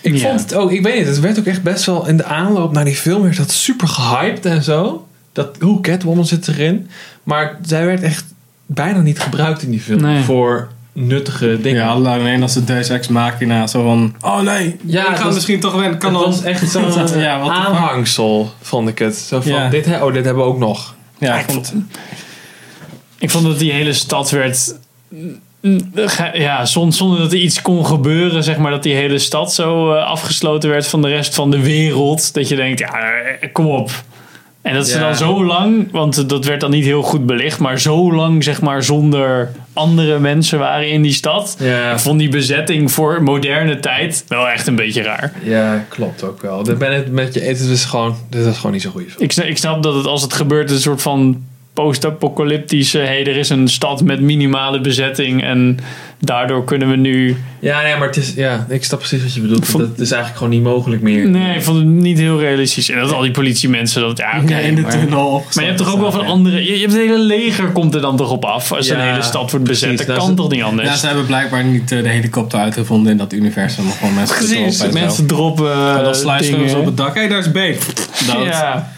Ik Ja. vond het ook, ik weet niet, het werd ook echt best wel in de aanloop naar die film werd dat super gehyped en zo. Dat, hoe Catwoman zit erin. Maar zij werd echt bijna niet gebruikt in die film Nee. voor nuttige dingen. Ja, alleen als ze Deus Ex Machina zo van, oh nee, Ja, ik dat ga was- misschien toch wennen. Kan het dan- was echt zo'n Ja, what the fuck. aanhangsel, vond ik het. Zo van, Ja. dit, he- oh, dit hebben we ook nog. Ja, ik ik vond, Ik vond dat die hele stad werd. mm, eh, Ja, zon- zonder dat er iets kon gebeuren, zeg maar, dat die hele stad zo eh, afgesloten werd van de rest van de wereld. Dat je denkt, ja, eh, kom op. En dat ze Ja. dan zo lang, want dat werd dan niet heel goed belicht, maar zo lang, zeg maar, zonder andere mensen waren in die stad. Ja, Ik vond die bezetting voor moderne tijd wel echt een beetje raar. Ja, klopt ook wel. Daar ben ik met je eens. Het is gewoon, dit is gewoon niet zo'n goede film. Ik, sna- ik snap dat het als het gebeurt een soort van post-apocalyptische... hé, er is een stad met minimale bezetting... en daardoor kunnen we nu... Ja, nee, maar het is, ja, ik snap precies wat je bedoelt. Vond- Dat is eigenlijk gewoon niet mogelijk meer. Nee, ik vond het niet heel realistisch. En dat al die politiemensen dat... Ja, oké, ja, in de maar, tunnel maar je hebt toch ook wel van andere... Je, je hebt een hele leger komt er dan toch op af... als Ja, een hele stad wordt bezet. precies. dat Nou, kan ze- toch niet Ja, anders? ze hebben blijkbaar niet eh, de helikopter uitgevonden in dat universum. Maar gewoon mensen Precies, erop en zo. mensen droppen En eh, dan sluiten ze dingen. op het dak. Hé, daar is Bane. Dood. ja.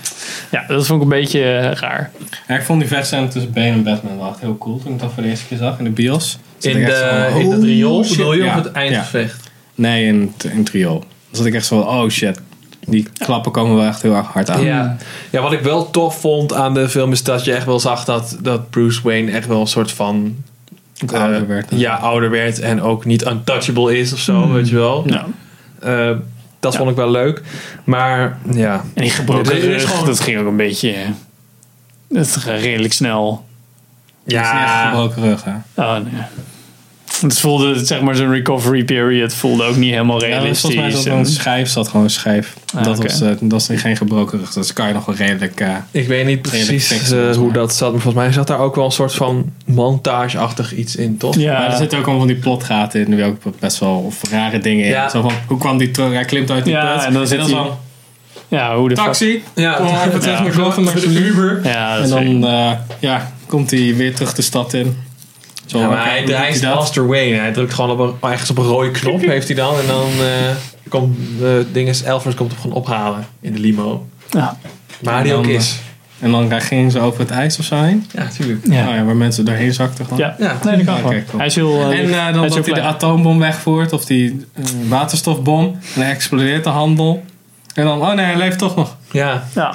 ja, dat vond ik een beetje eh, raar. Ja, ik vond die vechtscène tussen Bane en Batman wel echt heel cool toen ik dat voor de eerste keer zag in de bios. Zat In, ik echt zo de, van, in het oh, riool shit. bedoel je Ja, of het eindgevecht? ja. Nee, in, het- in het riool. Dan zat ik echt zo van, oh shit. Die klappen komen wel echt heel erg hard aan. Ja. ja, wat ik wel tof vond aan de film is dat je echt wel zag dat, dat Bruce Wayne echt wel een soort van... Ook ouder eh, werd. Ja, ouder werd en ook niet untouchable is of zo, weet je wel. Nou, Eh, dat Ja. vond ik wel leuk. Maar ja, en die gebroken Er is- er is rug, gewoon- dat ging ook een beetje... eh, Dat ging redelijk snel... Ja. ja Ah. gebroken rug, hè. Oh, Ah, nee. Het voelde, zeg maar, zijn recovery period voelde ook niet helemaal Ja, dat is realistisch. volgens mij zat en- een schijf, zat gewoon schijf. Ah, dat, oké. was, eh, dat is geen gebroken rug, dus kan je nog wel redelijk... eh, Ik weet niet Redelijk precies fix, eh, volgens hoe mij. dat zat. Maar volgens mij zat daar ook wel een soort van montageachtig iets in, toch? ja, Maar er zitten ook allemaal van die plotgaten in, die ook best wel of rare dingen in. Ja. Zo van, hoe kwam die terug? Hij klimt uit die Ja, put. en dan zit hij- van, ja, hoe de fuck- taxi, Ja. kom maar even terug Ja. naar Groven, naar de Uber. Ja, dat En is dan zeker. eh, ja, komt hij weer terug de stad in. Zo, Ja, oké, maar hij, hoe doet hij is dat? Master Wayne. Hij drukt gewoon op een, ergens op een rode knop, heeft hij dan. En dan eh, komt de dinges, Alfred komt hem gewoon ophalen in de limo. Ja. Maar die En ook dan, is. En dan gingen ze over het ijs of zo heen. eh, Ja, tuurlijk. Ja. Oh ja, waar mensen doorheen zakten gewoon. Ja. Ja. nee, dat kan Ja, gewoon. kijk, kom. hij is heel. En eh, eh, hij is dan heel dat hij de klein. atoombom wegvoert of die eh, waterstofbom. En dan explodeert de handel. En dan, oh nee, hij leeft toch nog. Ja. Ja.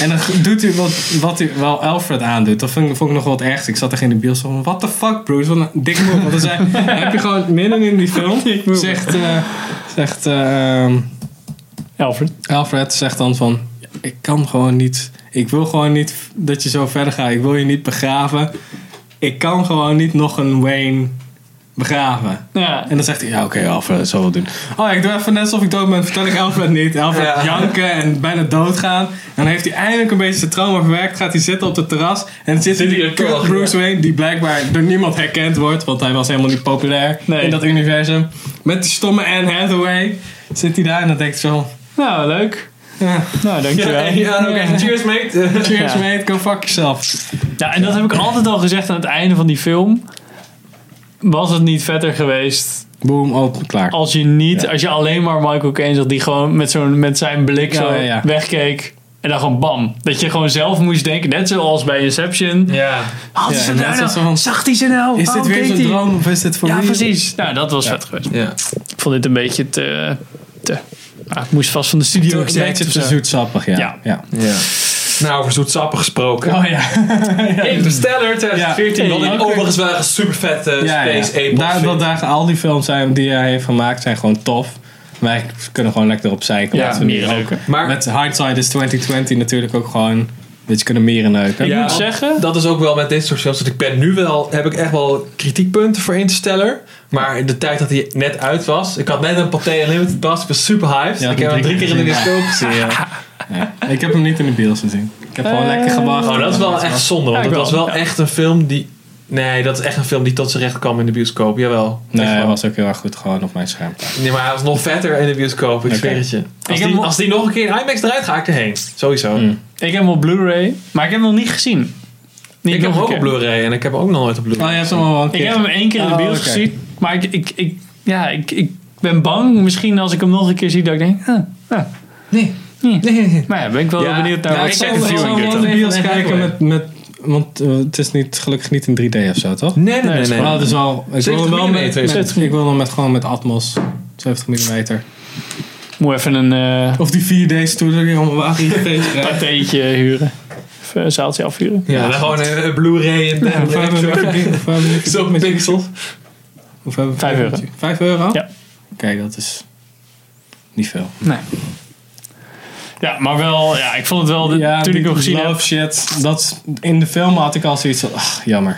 En dan doet hij wat, wat hij wel Alfred aandoet. Dat vond ik, vond ik nog wat ergs. Ik zat er in de bios van, what the fuck Bruce, wat een dikke move. Want dan zei, heb je gewoon midden in die film, zegt, eh, zegt eh, Alfred. Alfred zegt dan van, ik kan gewoon niet, ik wil gewoon niet dat je zo verder gaat. Ik wil je niet begraven. Ik kan gewoon niet nog een Wayne begraven. Ja. En dan zegt hij, ja oké Alfred, dat zal wel doen. Oh, ik doe even net alsof ik dood ben, vertel ik Alfred niet. Alfred Ja. janken en bijna doodgaan. En dan heeft hij eindelijk een beetje zijn trauma verwerkt. Gaat hij zitten op het terras. En dan zit, Zit hij hij die er toch, kut Bruce Wayne, die blijkbaar door niemand herkend wordt. Want hij was helemaal niet populair Nee. in dat universum. Met die stomme Anne Hathaway zit hij daar en dan denkt hij zo... Nou, leuk. Ja, Nou, dankjewel. Ja, Ja, ja oké. Cheers, mate. cheers Ja. mate, go fuck yourself. en dat heb ik altijd al gezegd aan het einde van die film. Was het niet vetter geweest Boom, open, klaar. als je niet, als je alleen maar Michael Caine zag die gewoon met, zo'n, met zijn blik Ja, zo ja, ja. wegkeek. En dan gewoon bam. Dat je gewoon zelf moest denken, net zoals bij Inception. Ja. Had Ja, ze en nou dat nou- is zo van- zag hij ze nou? Is dit Waarom weer keek zo'n hij? droom of is dit voor Ja, real? precies. Nou, dat was vet geweest. Ja. Ik vond dit een beetje te... te ah, ik moest vast van de Een studio beetje of te zo. zoetsappig, ja. Ja. ja. ja. Nou, over zoetsappig gesproken. Oh ja. Interstellar 2014. Ja. Wat ik Oké. overigens wel een super vet eh, ja, ja. Space Ape Daar, vind. dat daar al die films zijn die hij heeft gemaakt zijn gewoon tof. Wij kunnen gewoon lekker op zeiken. Ja, laten we niet mieren roken. neuken. Maar- Met Hindsight is 2020 natuurlijk ook gewoon een beetje kunnen mieren neuken. Ik Ja. moet zeggen... Dat is ook wel met dit soort films. Dat ik ben nu wel, heb ik echt wel kritiekpunten voor Interstellar. Maar in de tijd dat hij net uit was. Ik had net een Pathé Unlimited pas. Ik was super hyped. Ja, ik heb hem drie keer in de gezien, disco ja. gezien. ja. Ja. Ik heb hem niet in de bios gezien. Ik heb gewoon Eh. lekker gewacht. Oh, dat is wel echt zonde. Want Ja, ik dat was wel, wel ja. echt een film die... Nee, dat is echt een film die tot zijn recht kwam in de bioscoop. Jawel. Nee, Echt hij wel. was ook heel erg goed gewoon op mijn scherm. Nee, maar hij was nog vetter in de bioscoop. Ik Oké. zweer het je. Als, heb die, nog- als die nog een keer in IMAX eruit gaat, ga ik erheen. Sowieso. Mm. Ik heb hem op Blu-ray, maar ik heb hem nog niet gezien. Niet Ik heb nog hem een ook keer. op Blu-ray. En ik heb hem ook nog nooit op Blu-ray. Oh, je hebt hem al wel een Ik keer. heb hem één keer in de Oh, bios oké. gezien, maar ik, ik, ik, ja, ik, ik ben bang misschien als ik hem nog een keer zie dat ik denk... ah, ah. Nee. Nee. Nee, nee, nee. Maar ja, ben ik wel Ja, benieuwd naar ja, wat ik second zou- ik viewing zou dit wel dan. even- bios kijken met... met want eh, het is niet, gelukkig niet in 3D of zo, toch? Nee, nee, nee. Nee, nee, het is Nou, dat is wel... Ik wil 70 hem wel met, millimeter is met- ik wil hem met, gewoon met Atmos. 70 mm. Moet even een eh Of die 4D-stoelen die allemaal wagen in je face krijgt. patentje huren. Of een zaaltje afhuren. Ja, dan gewoon een, een Blu-ray en Hoeveel hebben we nu verdiend? Hoeveel hebben we nu verdiend zo'n met die- pixels. Hoeveel hebben we Vijf verdiend? Vijf euro? Ja. Kijk, dat is niet veel. Nee. Ja, maar wel, ja, ik vond het wel, toen ik die hem gezien love heb. shit. Dat, in de film had ik al zoiets van, ach, jammer.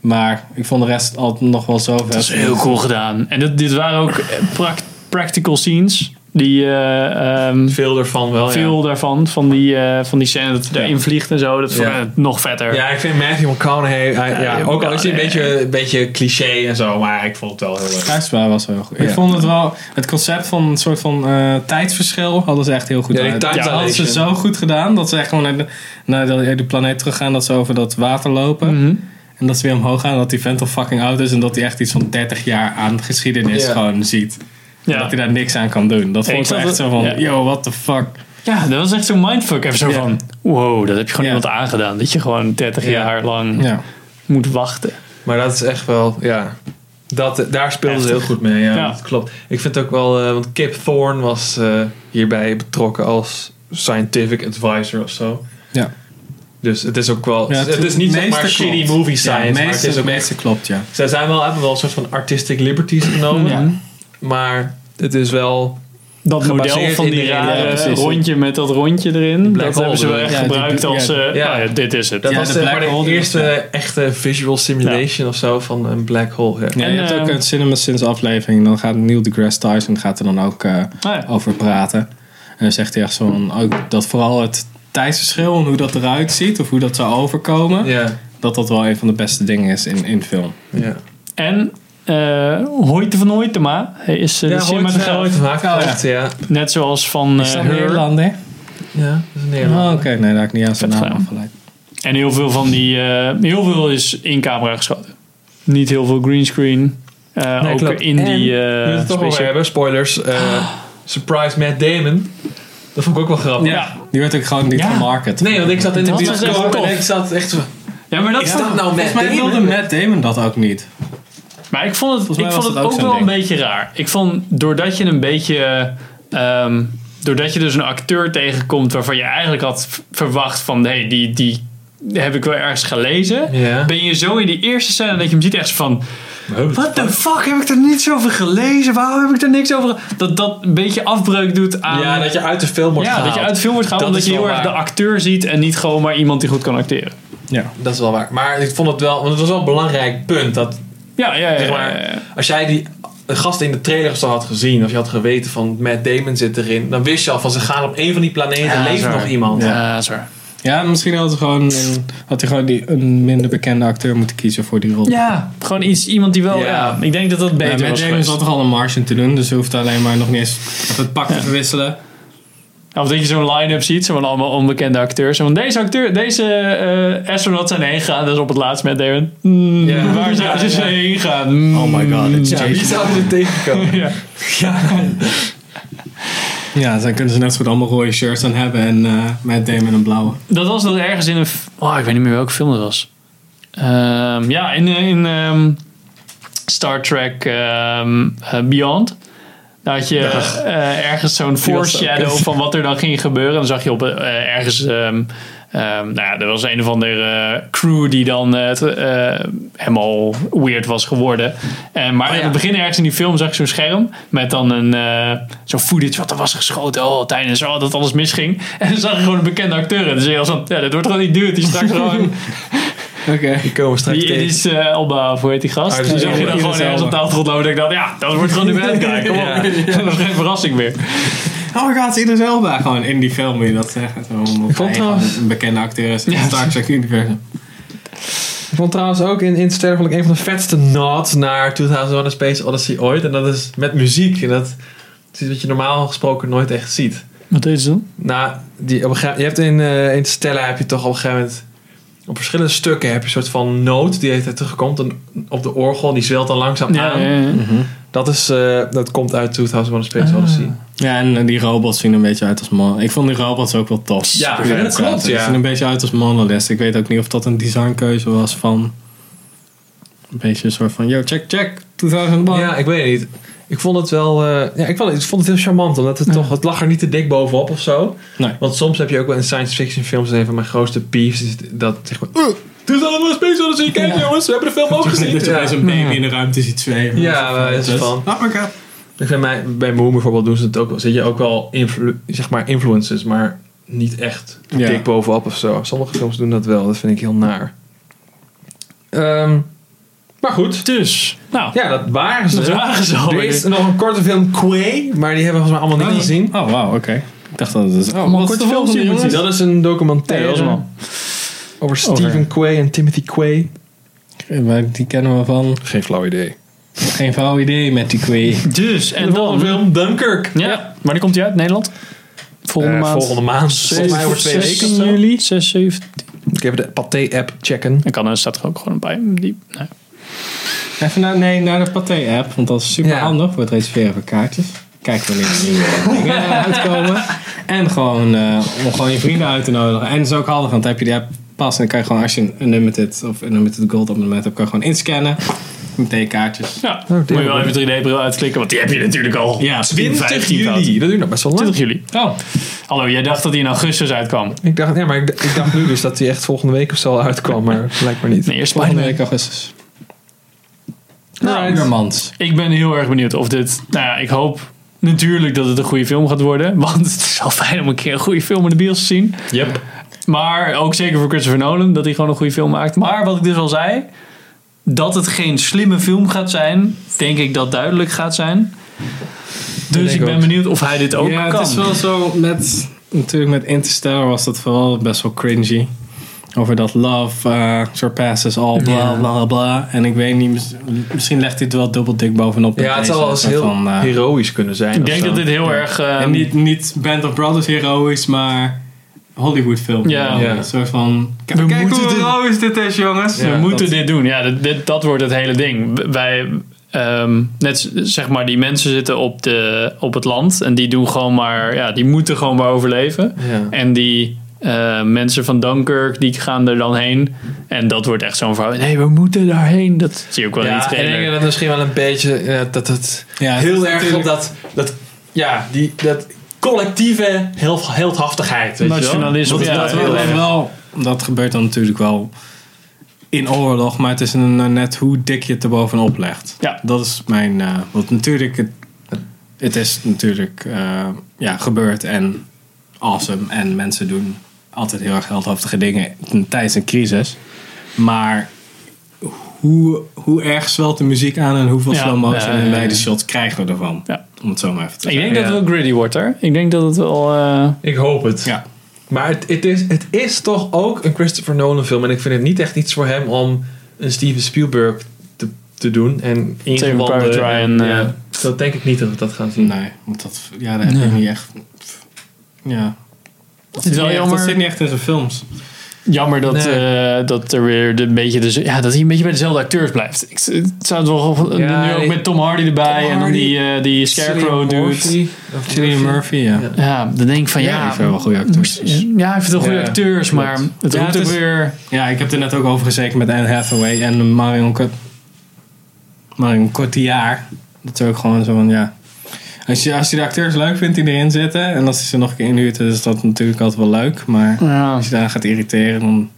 Maar ik vond de rest altijd nog wel zo vet. Dat is heel cool gedaan. En dit, dit waren ook eh, prac- practical scenes. Die eh, ehm, Veel ervan wel, veel daarvan, van die, eh, van die scène dat hij daarin vliegt en zo. Dat vond ik Ja. het nog vetter. ja. Ja, ik vind Matthew McConaughey, hij, ja, ja, ook al is hij een ja, beetje, een beetje cliché en zo, maar ik vond het wel heel leuk. Kruisbaar was wel heel goed. Ik Ja. vond het wel, het concept van een soort van eh, tijdsverschil hadden ze echt heel goed Ja, die uit- time dat hadden ze dilation. zo goed gedaan dat ze echt gewoon naar de, naar de, de planeet teruggaan, dat ze over dat water lopen. Mhm. En dat ze weer omhoog gaan, dat die vent al fucking oud is en dat hij echt iets van 30 jaar aan geschiedenis Ja. gewoon ziet. ja. Dat hij daar niks aan kan doen. Dat Ik vond ik zat echt het- zo van, ja. yo, what the fuck. Ja, dat was echt zo'n mindfuck. Even zo Ja. van, wow, dat heb je gewoon Ja. iemand aangedaan. Dat je gewoon 30 Ja. jaar lang Ja. moet wachten. Maar dat is echt wel, ja, dat, daar speelden ze heel Heftig. goed mee, ja, Ja. dat klopt. Ik vind het ook wel, eh, want Kip Thorne was eh, hierbij betrokken als scientific advisor of zo. Ja. Dus het is ook wel, Ja, het, het- is niet zeg maar meeste shitty klopt. movie Ja, science, maar het meeste, is ook het meeste klopt, ja. Zij zijn wel, hebben wel een soort van artistic liberties genomen. Ja. Maar het is wel dat model Gebaseerd van in die die reële- rare ja, precies. rondje met dat rondje erin. black Dat hole hebben ze wel bedoel echt je? Ja, die- gebruikt ja. als, eh, ah ja. Ja. dit is het. Dat Ja, was de de, black maar de hole die- eerste echte visual simulation of zo van een black hole. Ja. Ja, En, je hebt ook eh, een Cinema Sins aflevering. Dan gaat Neil deGrasse Tyson gaat er dan ook eh, Ah ja. over praten. En dan zegt hij echt zo van, ook dat vooral het tijdsverschil en hoe dat eruit ziet. Of hoe dat zou overkomen. Ja, Dat dat wel een van de beste dingen is in, in film. ja. En eh Hoyte van Hoytema hij is eh, de cinematograf. maken. Oh, ja. echt, ja. Net zoals van Is eh, dat Her. Nederlander? Ja, dat is een Oh, Nederlander. oké. Nee, daar heb ik niet aan zijn Vet naam gedaan. afgeleid. En heel veel van die. eh, heel veel is in camera geschoten. Niet heel veel greenscreen. Eh Nee, ook klopt. in En, die. eh, Nu we het toch over special- hebben, spoilers. eh, surprise Matt Damon. Dat vond ik ook wel grappig. Ja. Die werd ook gewoon niet Ja. gemarket. Nee, want ik zat in de Dat was echt bioscoop en tof. ik zat echt zo... ja, maar dat Is dat nou Matt Volgens mij wilde Damon? Matt Damon dat ook niet. Maar ik vond het, Volgens mij ik was vond het dat ook, ook wel zo'n een ding. beetje raar. Ik vond, doordat je een beetje... ehm, doordat je dus een acteur tegenkomt waarvan je eigenlijk had v- verwacht van... Hé, hey, die, die heb ik wel ergens gelezen. Ja. Ben je zo in die eerste scène dat je hem ziet echt van... What the fuck, heb ik er niets over gelezen? Waarom heb ik er niks over... ge-" Dat dat een beetje afbreuk doet aan... Ja, dat je uit de film wordt Ja, gehaald. dat je uit de film wordt gehaald Dat omdat je is heel wel erg de waar. acteur ziet... en niet gewoon maar iemand die goed kan acteren. Ja. Dat is wel waar. Maar ik vond het wel... Want het was wel een belangrijk punt. Dat Ja, ja, ja. Zeg ja, maar, ja. als jij die de gast in de trailer of zo had gezien... of je had geweten van Matt Damon zit erin... dan wist je al van ze gaan op een van die planeten... Ja, leeft sorry. nog iemand. Ja. Ah, sorry. Ja, misschien had hij gewoon, een, had hij gewoon die, een minder bekende acteur moeten kiezen voor die rol. Ja, gewoon iets, iemand die wel... Ja. Ja. ik denk dat dat beter Ja, Matt was Damon geweest. zat toch al een Martian te doen, dus hij hoeft alleen maar nog niet eens even het pak te verwisselen. Of dat je zo'n line-up ziet, zo van allemaal onbekende acteurs. En van deze acteur, deze eh astronaut zijn heen gegaan. Dat is op het laatst met Damon. Mm, Ja. Waar Ja, zouden ze ja. heen gaan? Mm. Oh my god, it's Ja, wie zou er tegenkomen? Ja. ja. Ja, dan kunnen ze net zo goed allemaal rode shirts aan hebben en eh Matt Damon een blauwe. Dat was dat ergens in een... f- Oh, ik weet niet meer welke film dat was. Ehm, ja, in, in ehm, Star Trek ehm, eh, Beyond. Daar had je eh, ergens zo'n foreshadow van wat er dan ging gebeuren. En dan zag je op eh, ergens... ehm, ehm, nou ja, er was een of andere eh, crew die dan eh, het, eh, helemaal weird was geworden. En, maar Oh ja. in het begin ergens in die film zag ik zo'n scherm met dan een eh, zo'n footage wat er was geschoten. Oh, tijdens oh, dat alles misging. En dan zag je gewoon een bekende acteur. En dan zei je al zo, ja, dat wordt gewoon die dude die straks gewoon... Oké. Die komen we straks Die tegen. is eh Elba, of hoe heet die gast? Ah, die zag je Idris dan gewoon Elba. ergens op de achtergrond lopen. En ik dacht, ja, dat wordt gewoon de bad guy. Kom op. Ja. Dat is geen verrassing meer. Oh my god, ieder zelf daar gewoon in die film moet je dat zeggen. Zo, omdat hij trouwens- gewoon een bekende acteur is in Ja. het Star Trek universum. Ik vond trouwens ook in Insterfelijk een van de vetste nods naar 2001 A Space Odyssey ooit. En dat is met muziek. En dat is iets wat je normaal gesproken nooit echt ziet. Wat deed ze dan? Nou, die, op een gegeven, je hebt in, eh, in Stella heb je toch op een gegeven moment... Op verschillende stukken heb je een soort van noot die heeft terugkomt en op de orgel. Die zwelt dan langzaam Ja, aan. ja, ja. Mhm. Dat, is, eh, dat komt uit 2001 A Space Ah. Odyssey. Ja, en eh, die robots zien er een beetje uit als man. Ik vond die robots ook wel tof. Ja, Hoe ja, vet dat zaten. klopt, Die ja. zien een beetje uit als monoliths. Ik weet ook niet of dat een designkeuze was van... Een beetje een soort van, yo, check, check, 2001. Ja, ik weet het niet. Ik vond het wel... eh, ja, ik vond het, ik vond het heel charmant. Omdat het toch... Het lag er niet te dik bovenop of zo. Nee. Want soms heb je ook wel in science fiction films... dat is een van mijn grootste peeves is dat zeg maar... "Ugh, Het is allemaal een space odyssey. Kijk jongens, we hebben de film ook gezien. Dat je Ja, bij zo'n baby in de ruimte ziet zweven. ja maar is Dus- van... Oh my god. Ik vind mij, bij Moon bijvoorbeeld doen ze het ook wel. Zit je ook wel influ- zeg maar influences, maar niet echt Ja. dik bovenop of zo. Sommige films doen dat wel. Dat vind ik heel naar. Ehm, maar goed. Dus, nou, Ja, dat waren ze. dat waren ze Er alweer. is nog een korte film Quay, maar die hebben we volgens mij allemaal niet gezien. Oh, wauw, oké. Ik dacht dat het... Oh, Maar wat is korte de films volgende die je jongens? Dat is een documentaire Nee, dat is wel. over Stephen Over- Quay en Timothy Quay. Eh, maar Die kennen we van. Geen flauw idee. Geen flauw idee met die queer. Dus, En en de volgende dan... Oh, film Dunkirk. Ja, wanneer komt die uit? Nederland? Volgende Eh, maand. Volgende maand. Volgens mij over twee weken of zo. juli. 6, 7. Ik even de Pathé-app checken. Dan kan er staat er ook gewoon bij. Die, nee. Even naar, nee, naar de Pathé-app, want dat is super Ja. handig voor het reserveren van kaartjes. Kijk wanneer er nieuwe dingen eh, uitkomen. En gewoon eh, om gewoon je vrienden uit te nodigen. En dat is ook handig, want dan heb je die app pas en dan kan je gewoon als je een unlimited of unlimited gold abonnement hebt, kan je gewoon inscannen. Meteen kaartjes. Ja, Oh, Oh, moet je wel even 3D-bril uitklikken, want die heb je natuurlijk al. Ja, 20 juli. fout. Dat duurt nog best wel lang. 20 juli. Oh, Hallo, jij dacht dat die in augustus uitkwam. Ik dacht, nee, maar ik, d- ik dacht nu dus dat hij echt volgende week of zo al uitkwam, maar blijkbaar niet. Nee, eerst volgende Spider-Man. week augustus. Alright. Iedermans. Ik ben heel erg benieuwd of dit... Nou ja, ik hoop natuurlijk dat het een goede film gaat worden. Want het is al fijn om een keer een goede film in de bios te zien. Yep. Maar ook zeker voor Christopher Nolan, dat hij gewoon een goede film maakt. Maar wat ik dus al zei, dat het geen slimme film gaat zijn, denk ik dat duidelijk gaat zijn. Dus denk ik ik ben ook. benieuwd of hij dit ook ja, kan. het is wel zo met... Natuurlijk met Interstellar was dat vooral best wel cringy. Over dat love eh, surpasses all, bla Ja. bla bla. En ik weet niet, mis- misschien legt hij het wel dubbel dik bovenop. met Ja, het deze, zal wel eens soort heel Ehm. van, eh, heroïs kunnen zijn. Ik of denk zo. dat dit heel erg... eh, en niet, niet Band of Brothers heroïs, maar Hollywood film. Ja. Ja. Een soort van... k- We Kijk moeten hoe dit- heroïs dit is, jongens. Ja. we moeten dat- dit doen. Ja, dit, dit- dat wordt het hele ding. W- Wij, ehm, net z- zeg maar, die mensen zitten op, de, op het land en die doen gewoon maar, ja, die moeten gewoon maar overleven. Ja. En die eh, mensen van Dunkirk, die gaan er dan heen. En dat wordt echt zo'n verhaal. Nee, we moeten daarheen. Dat zie je ook wel in die Ja, en ik trailer. denk dat misschien wel een beetje eh, dat het Ja, het heel is erg op natuurlijk- dat, dat, ja, die, dat collectieve heel, heldhaftigheid. Weet Nationalisme, Je wel? Dus Want ja, dat, dat heel wel- wel, erg. wel, dat gebeurt dan natuurlijk wel in oorlog, maar het is een, eh, net hoe dik je het er bovenop legt. Ja. Dat is mijn. eh, want natuurlijk, het, het is natuurlijk eh, ja, gebeurd en awesome. En mensen doen altijd heel erg heldhaftige dingen tijdens een crisis. Maar hoe, hoe erg zwelt de muziek aan en hoeveel Ja, slow motion ja, ja, en ja. beide shots krijgen we ervan? Ja. Om het zo maar even te Ik zeggen. denk dat het Ja. wel gritty wordt, hoor. Ik denk dat het wel... eh, Ik hoop het. Ja. Maar het, het, is, het is toch ook een Christopher Nolan film. En ik vind het niet echt iets voor hem om een Steven Spielberg te, te doen. En ingewanden. Private Ryan, en, ja, eh. dat denk ik niet dat we dat gaan zien. Nee, want dat, ja, daar heb ik niet echt. Ja. Dat is wel niet echt- jammer. Dat zit niet echt in zijn films. Jammer dat, Nee. eh, dat er weer de, een beetje de, ja, dat hij een beetje bij dezelfde acteurs blijft. Ik z- het zou het wel Ja, nu ook die- met Tom Hardy erbij Tom en dan Hardy. die, eh, die Scarecrow Cillian dude. Murphy. Of Cillian Murphy. ja. Ja. Ja, dan denk ik van Ja, die ja, zijn wel goede acteurs. ja, hij vindt wel goede Ja, acteurs, maar het Ja, roept het ook is- weer. Ja, ik heb het er net ook over gezegd met Anne Hathaway en Marion, Co- Marion Cotillard. Dat is ook gewoon zo van, ja. Als je, als je de acteurs leuk vindt die erin zitten en als je ze nog een keer inhuurt, dan is dat natuurlijk altijd wel leuk. Maar Ja. als je daar gaat irriteren, dan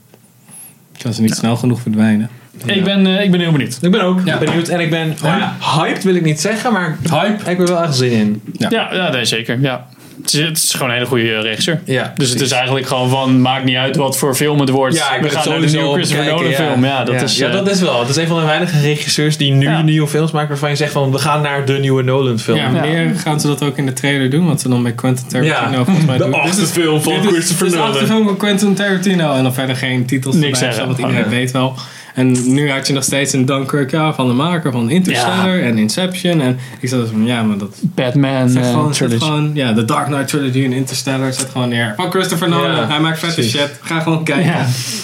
kan ze niet snel genoeg verdwijnen. Ik, ben, eh, ik ben heel benieuwd. Ik ben ook Ja. benieuwd. En ik ben nou ja, hyped wil ik niet zeggen. Maar Hype. ik heb er wel echt zin in. Ja, ja nee, zeker. Ja. Het, is, het is gewoon een hele goede eh, regisseur. Ja, dus het is eigenlijk gewoon van, maakt niet uit wat voor film het wordt. Ja, ik We ben gaan het naar de sowieso nieuwe op Christopher kijken, Nolan film. Ja, dat, Is, ja, eh, dat is wel. Dat is een van de weinige regisseurs die nu Ja. nieuwe films maken waarvan je zegt van we gaan naar de nieuwe Nolan film. Ja, Ja. meer gaan ze dat ook in de trailer doen, wat ze dan met Quentin Tarantino Ja. volgens mij De doen. achtste film van dit is- Christopher dit is de Nolan. achtste film Dus- van Quentin Tarantino en dan verder geen titels Niks erbij, zeggen. want iedereen Ja. weet wel. En nu had je nog steeds een Dunkirk ja, van de maker van Interstellar en Inception en ik zat dus van ja, maar dat Batman zet eh, gewoon, zet trilogy. gewoon ja, de Dark Knight trilogy en Interstellar zet gewoon neer. Van Christopher Nolan, Ja, hij maakt vette precies. shit. Ga gewoon kijken. Ah,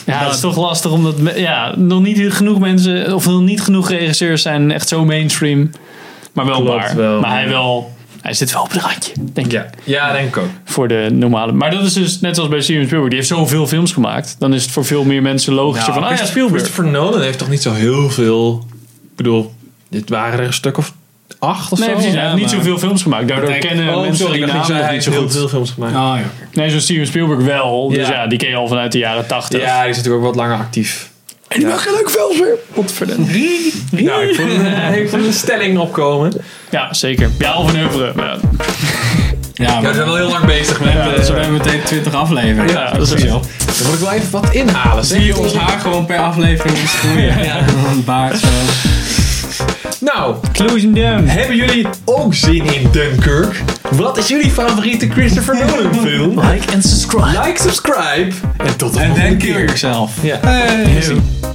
Ja, ja het is toch lastig omdat me- ja, nog niet genoeg mensen, of nog niet genoeg regisseurs zijn echt zo mainstream. Maar wel Klopt waar. wel, maar hij ja. wel, hij zit wel op het randje, denk ik. Ja. ja, denk ik ook. Voor de normale. Maar dat is dus net zoals bij Steven Spielberg. Die heeft zoveel films gemaakt. Dan is het voor veel meer mensen logischer van, ah ja, Christ- Spielberg. Nou, Christopher Nolan heeft toch niet zo heel veel. Ik bedoel, dit waren er een stuk of acht of Nee, zo. precies. Hij Ja, heeft niet maar- zoveel films gemaakt. Daardoor Kijk, kennen Oh, mensen sorry, die ik dacht, ik namen zei, nog hij heeft niet zo heel goed. veel films gemaakt. Oh, ja. Nee, zo'n Steven Spielberg wel. Dus Ja. ja, die ken je al vanuit de jaren tachtig. Ja, die is natuurlijk ook wat langer actief. En die maakt geen leuke films meer. Godverdomme. Nou, ik vond, eh, ik vond een stelling opkomen. Ja, zeker. Ja, of een oeuvre. Ja, Ja, maar, wel heel lang bezig met. we hebben meteen 20 afleveringen. ja, dat is wel. Dan moet ik wel even wat inhalen. zeg. Zie je ons haar gewoon per aflevering iets groeien. Ja. Een baard zo. Nou, Close him down. Hebben jullie ook zin in Dunkirk? Wat is jullie favoriete Christopher Nolan film? Like en subscribe. Like, subscribe en tot de En volgende denk keer. ik zelf. Ja. Hey.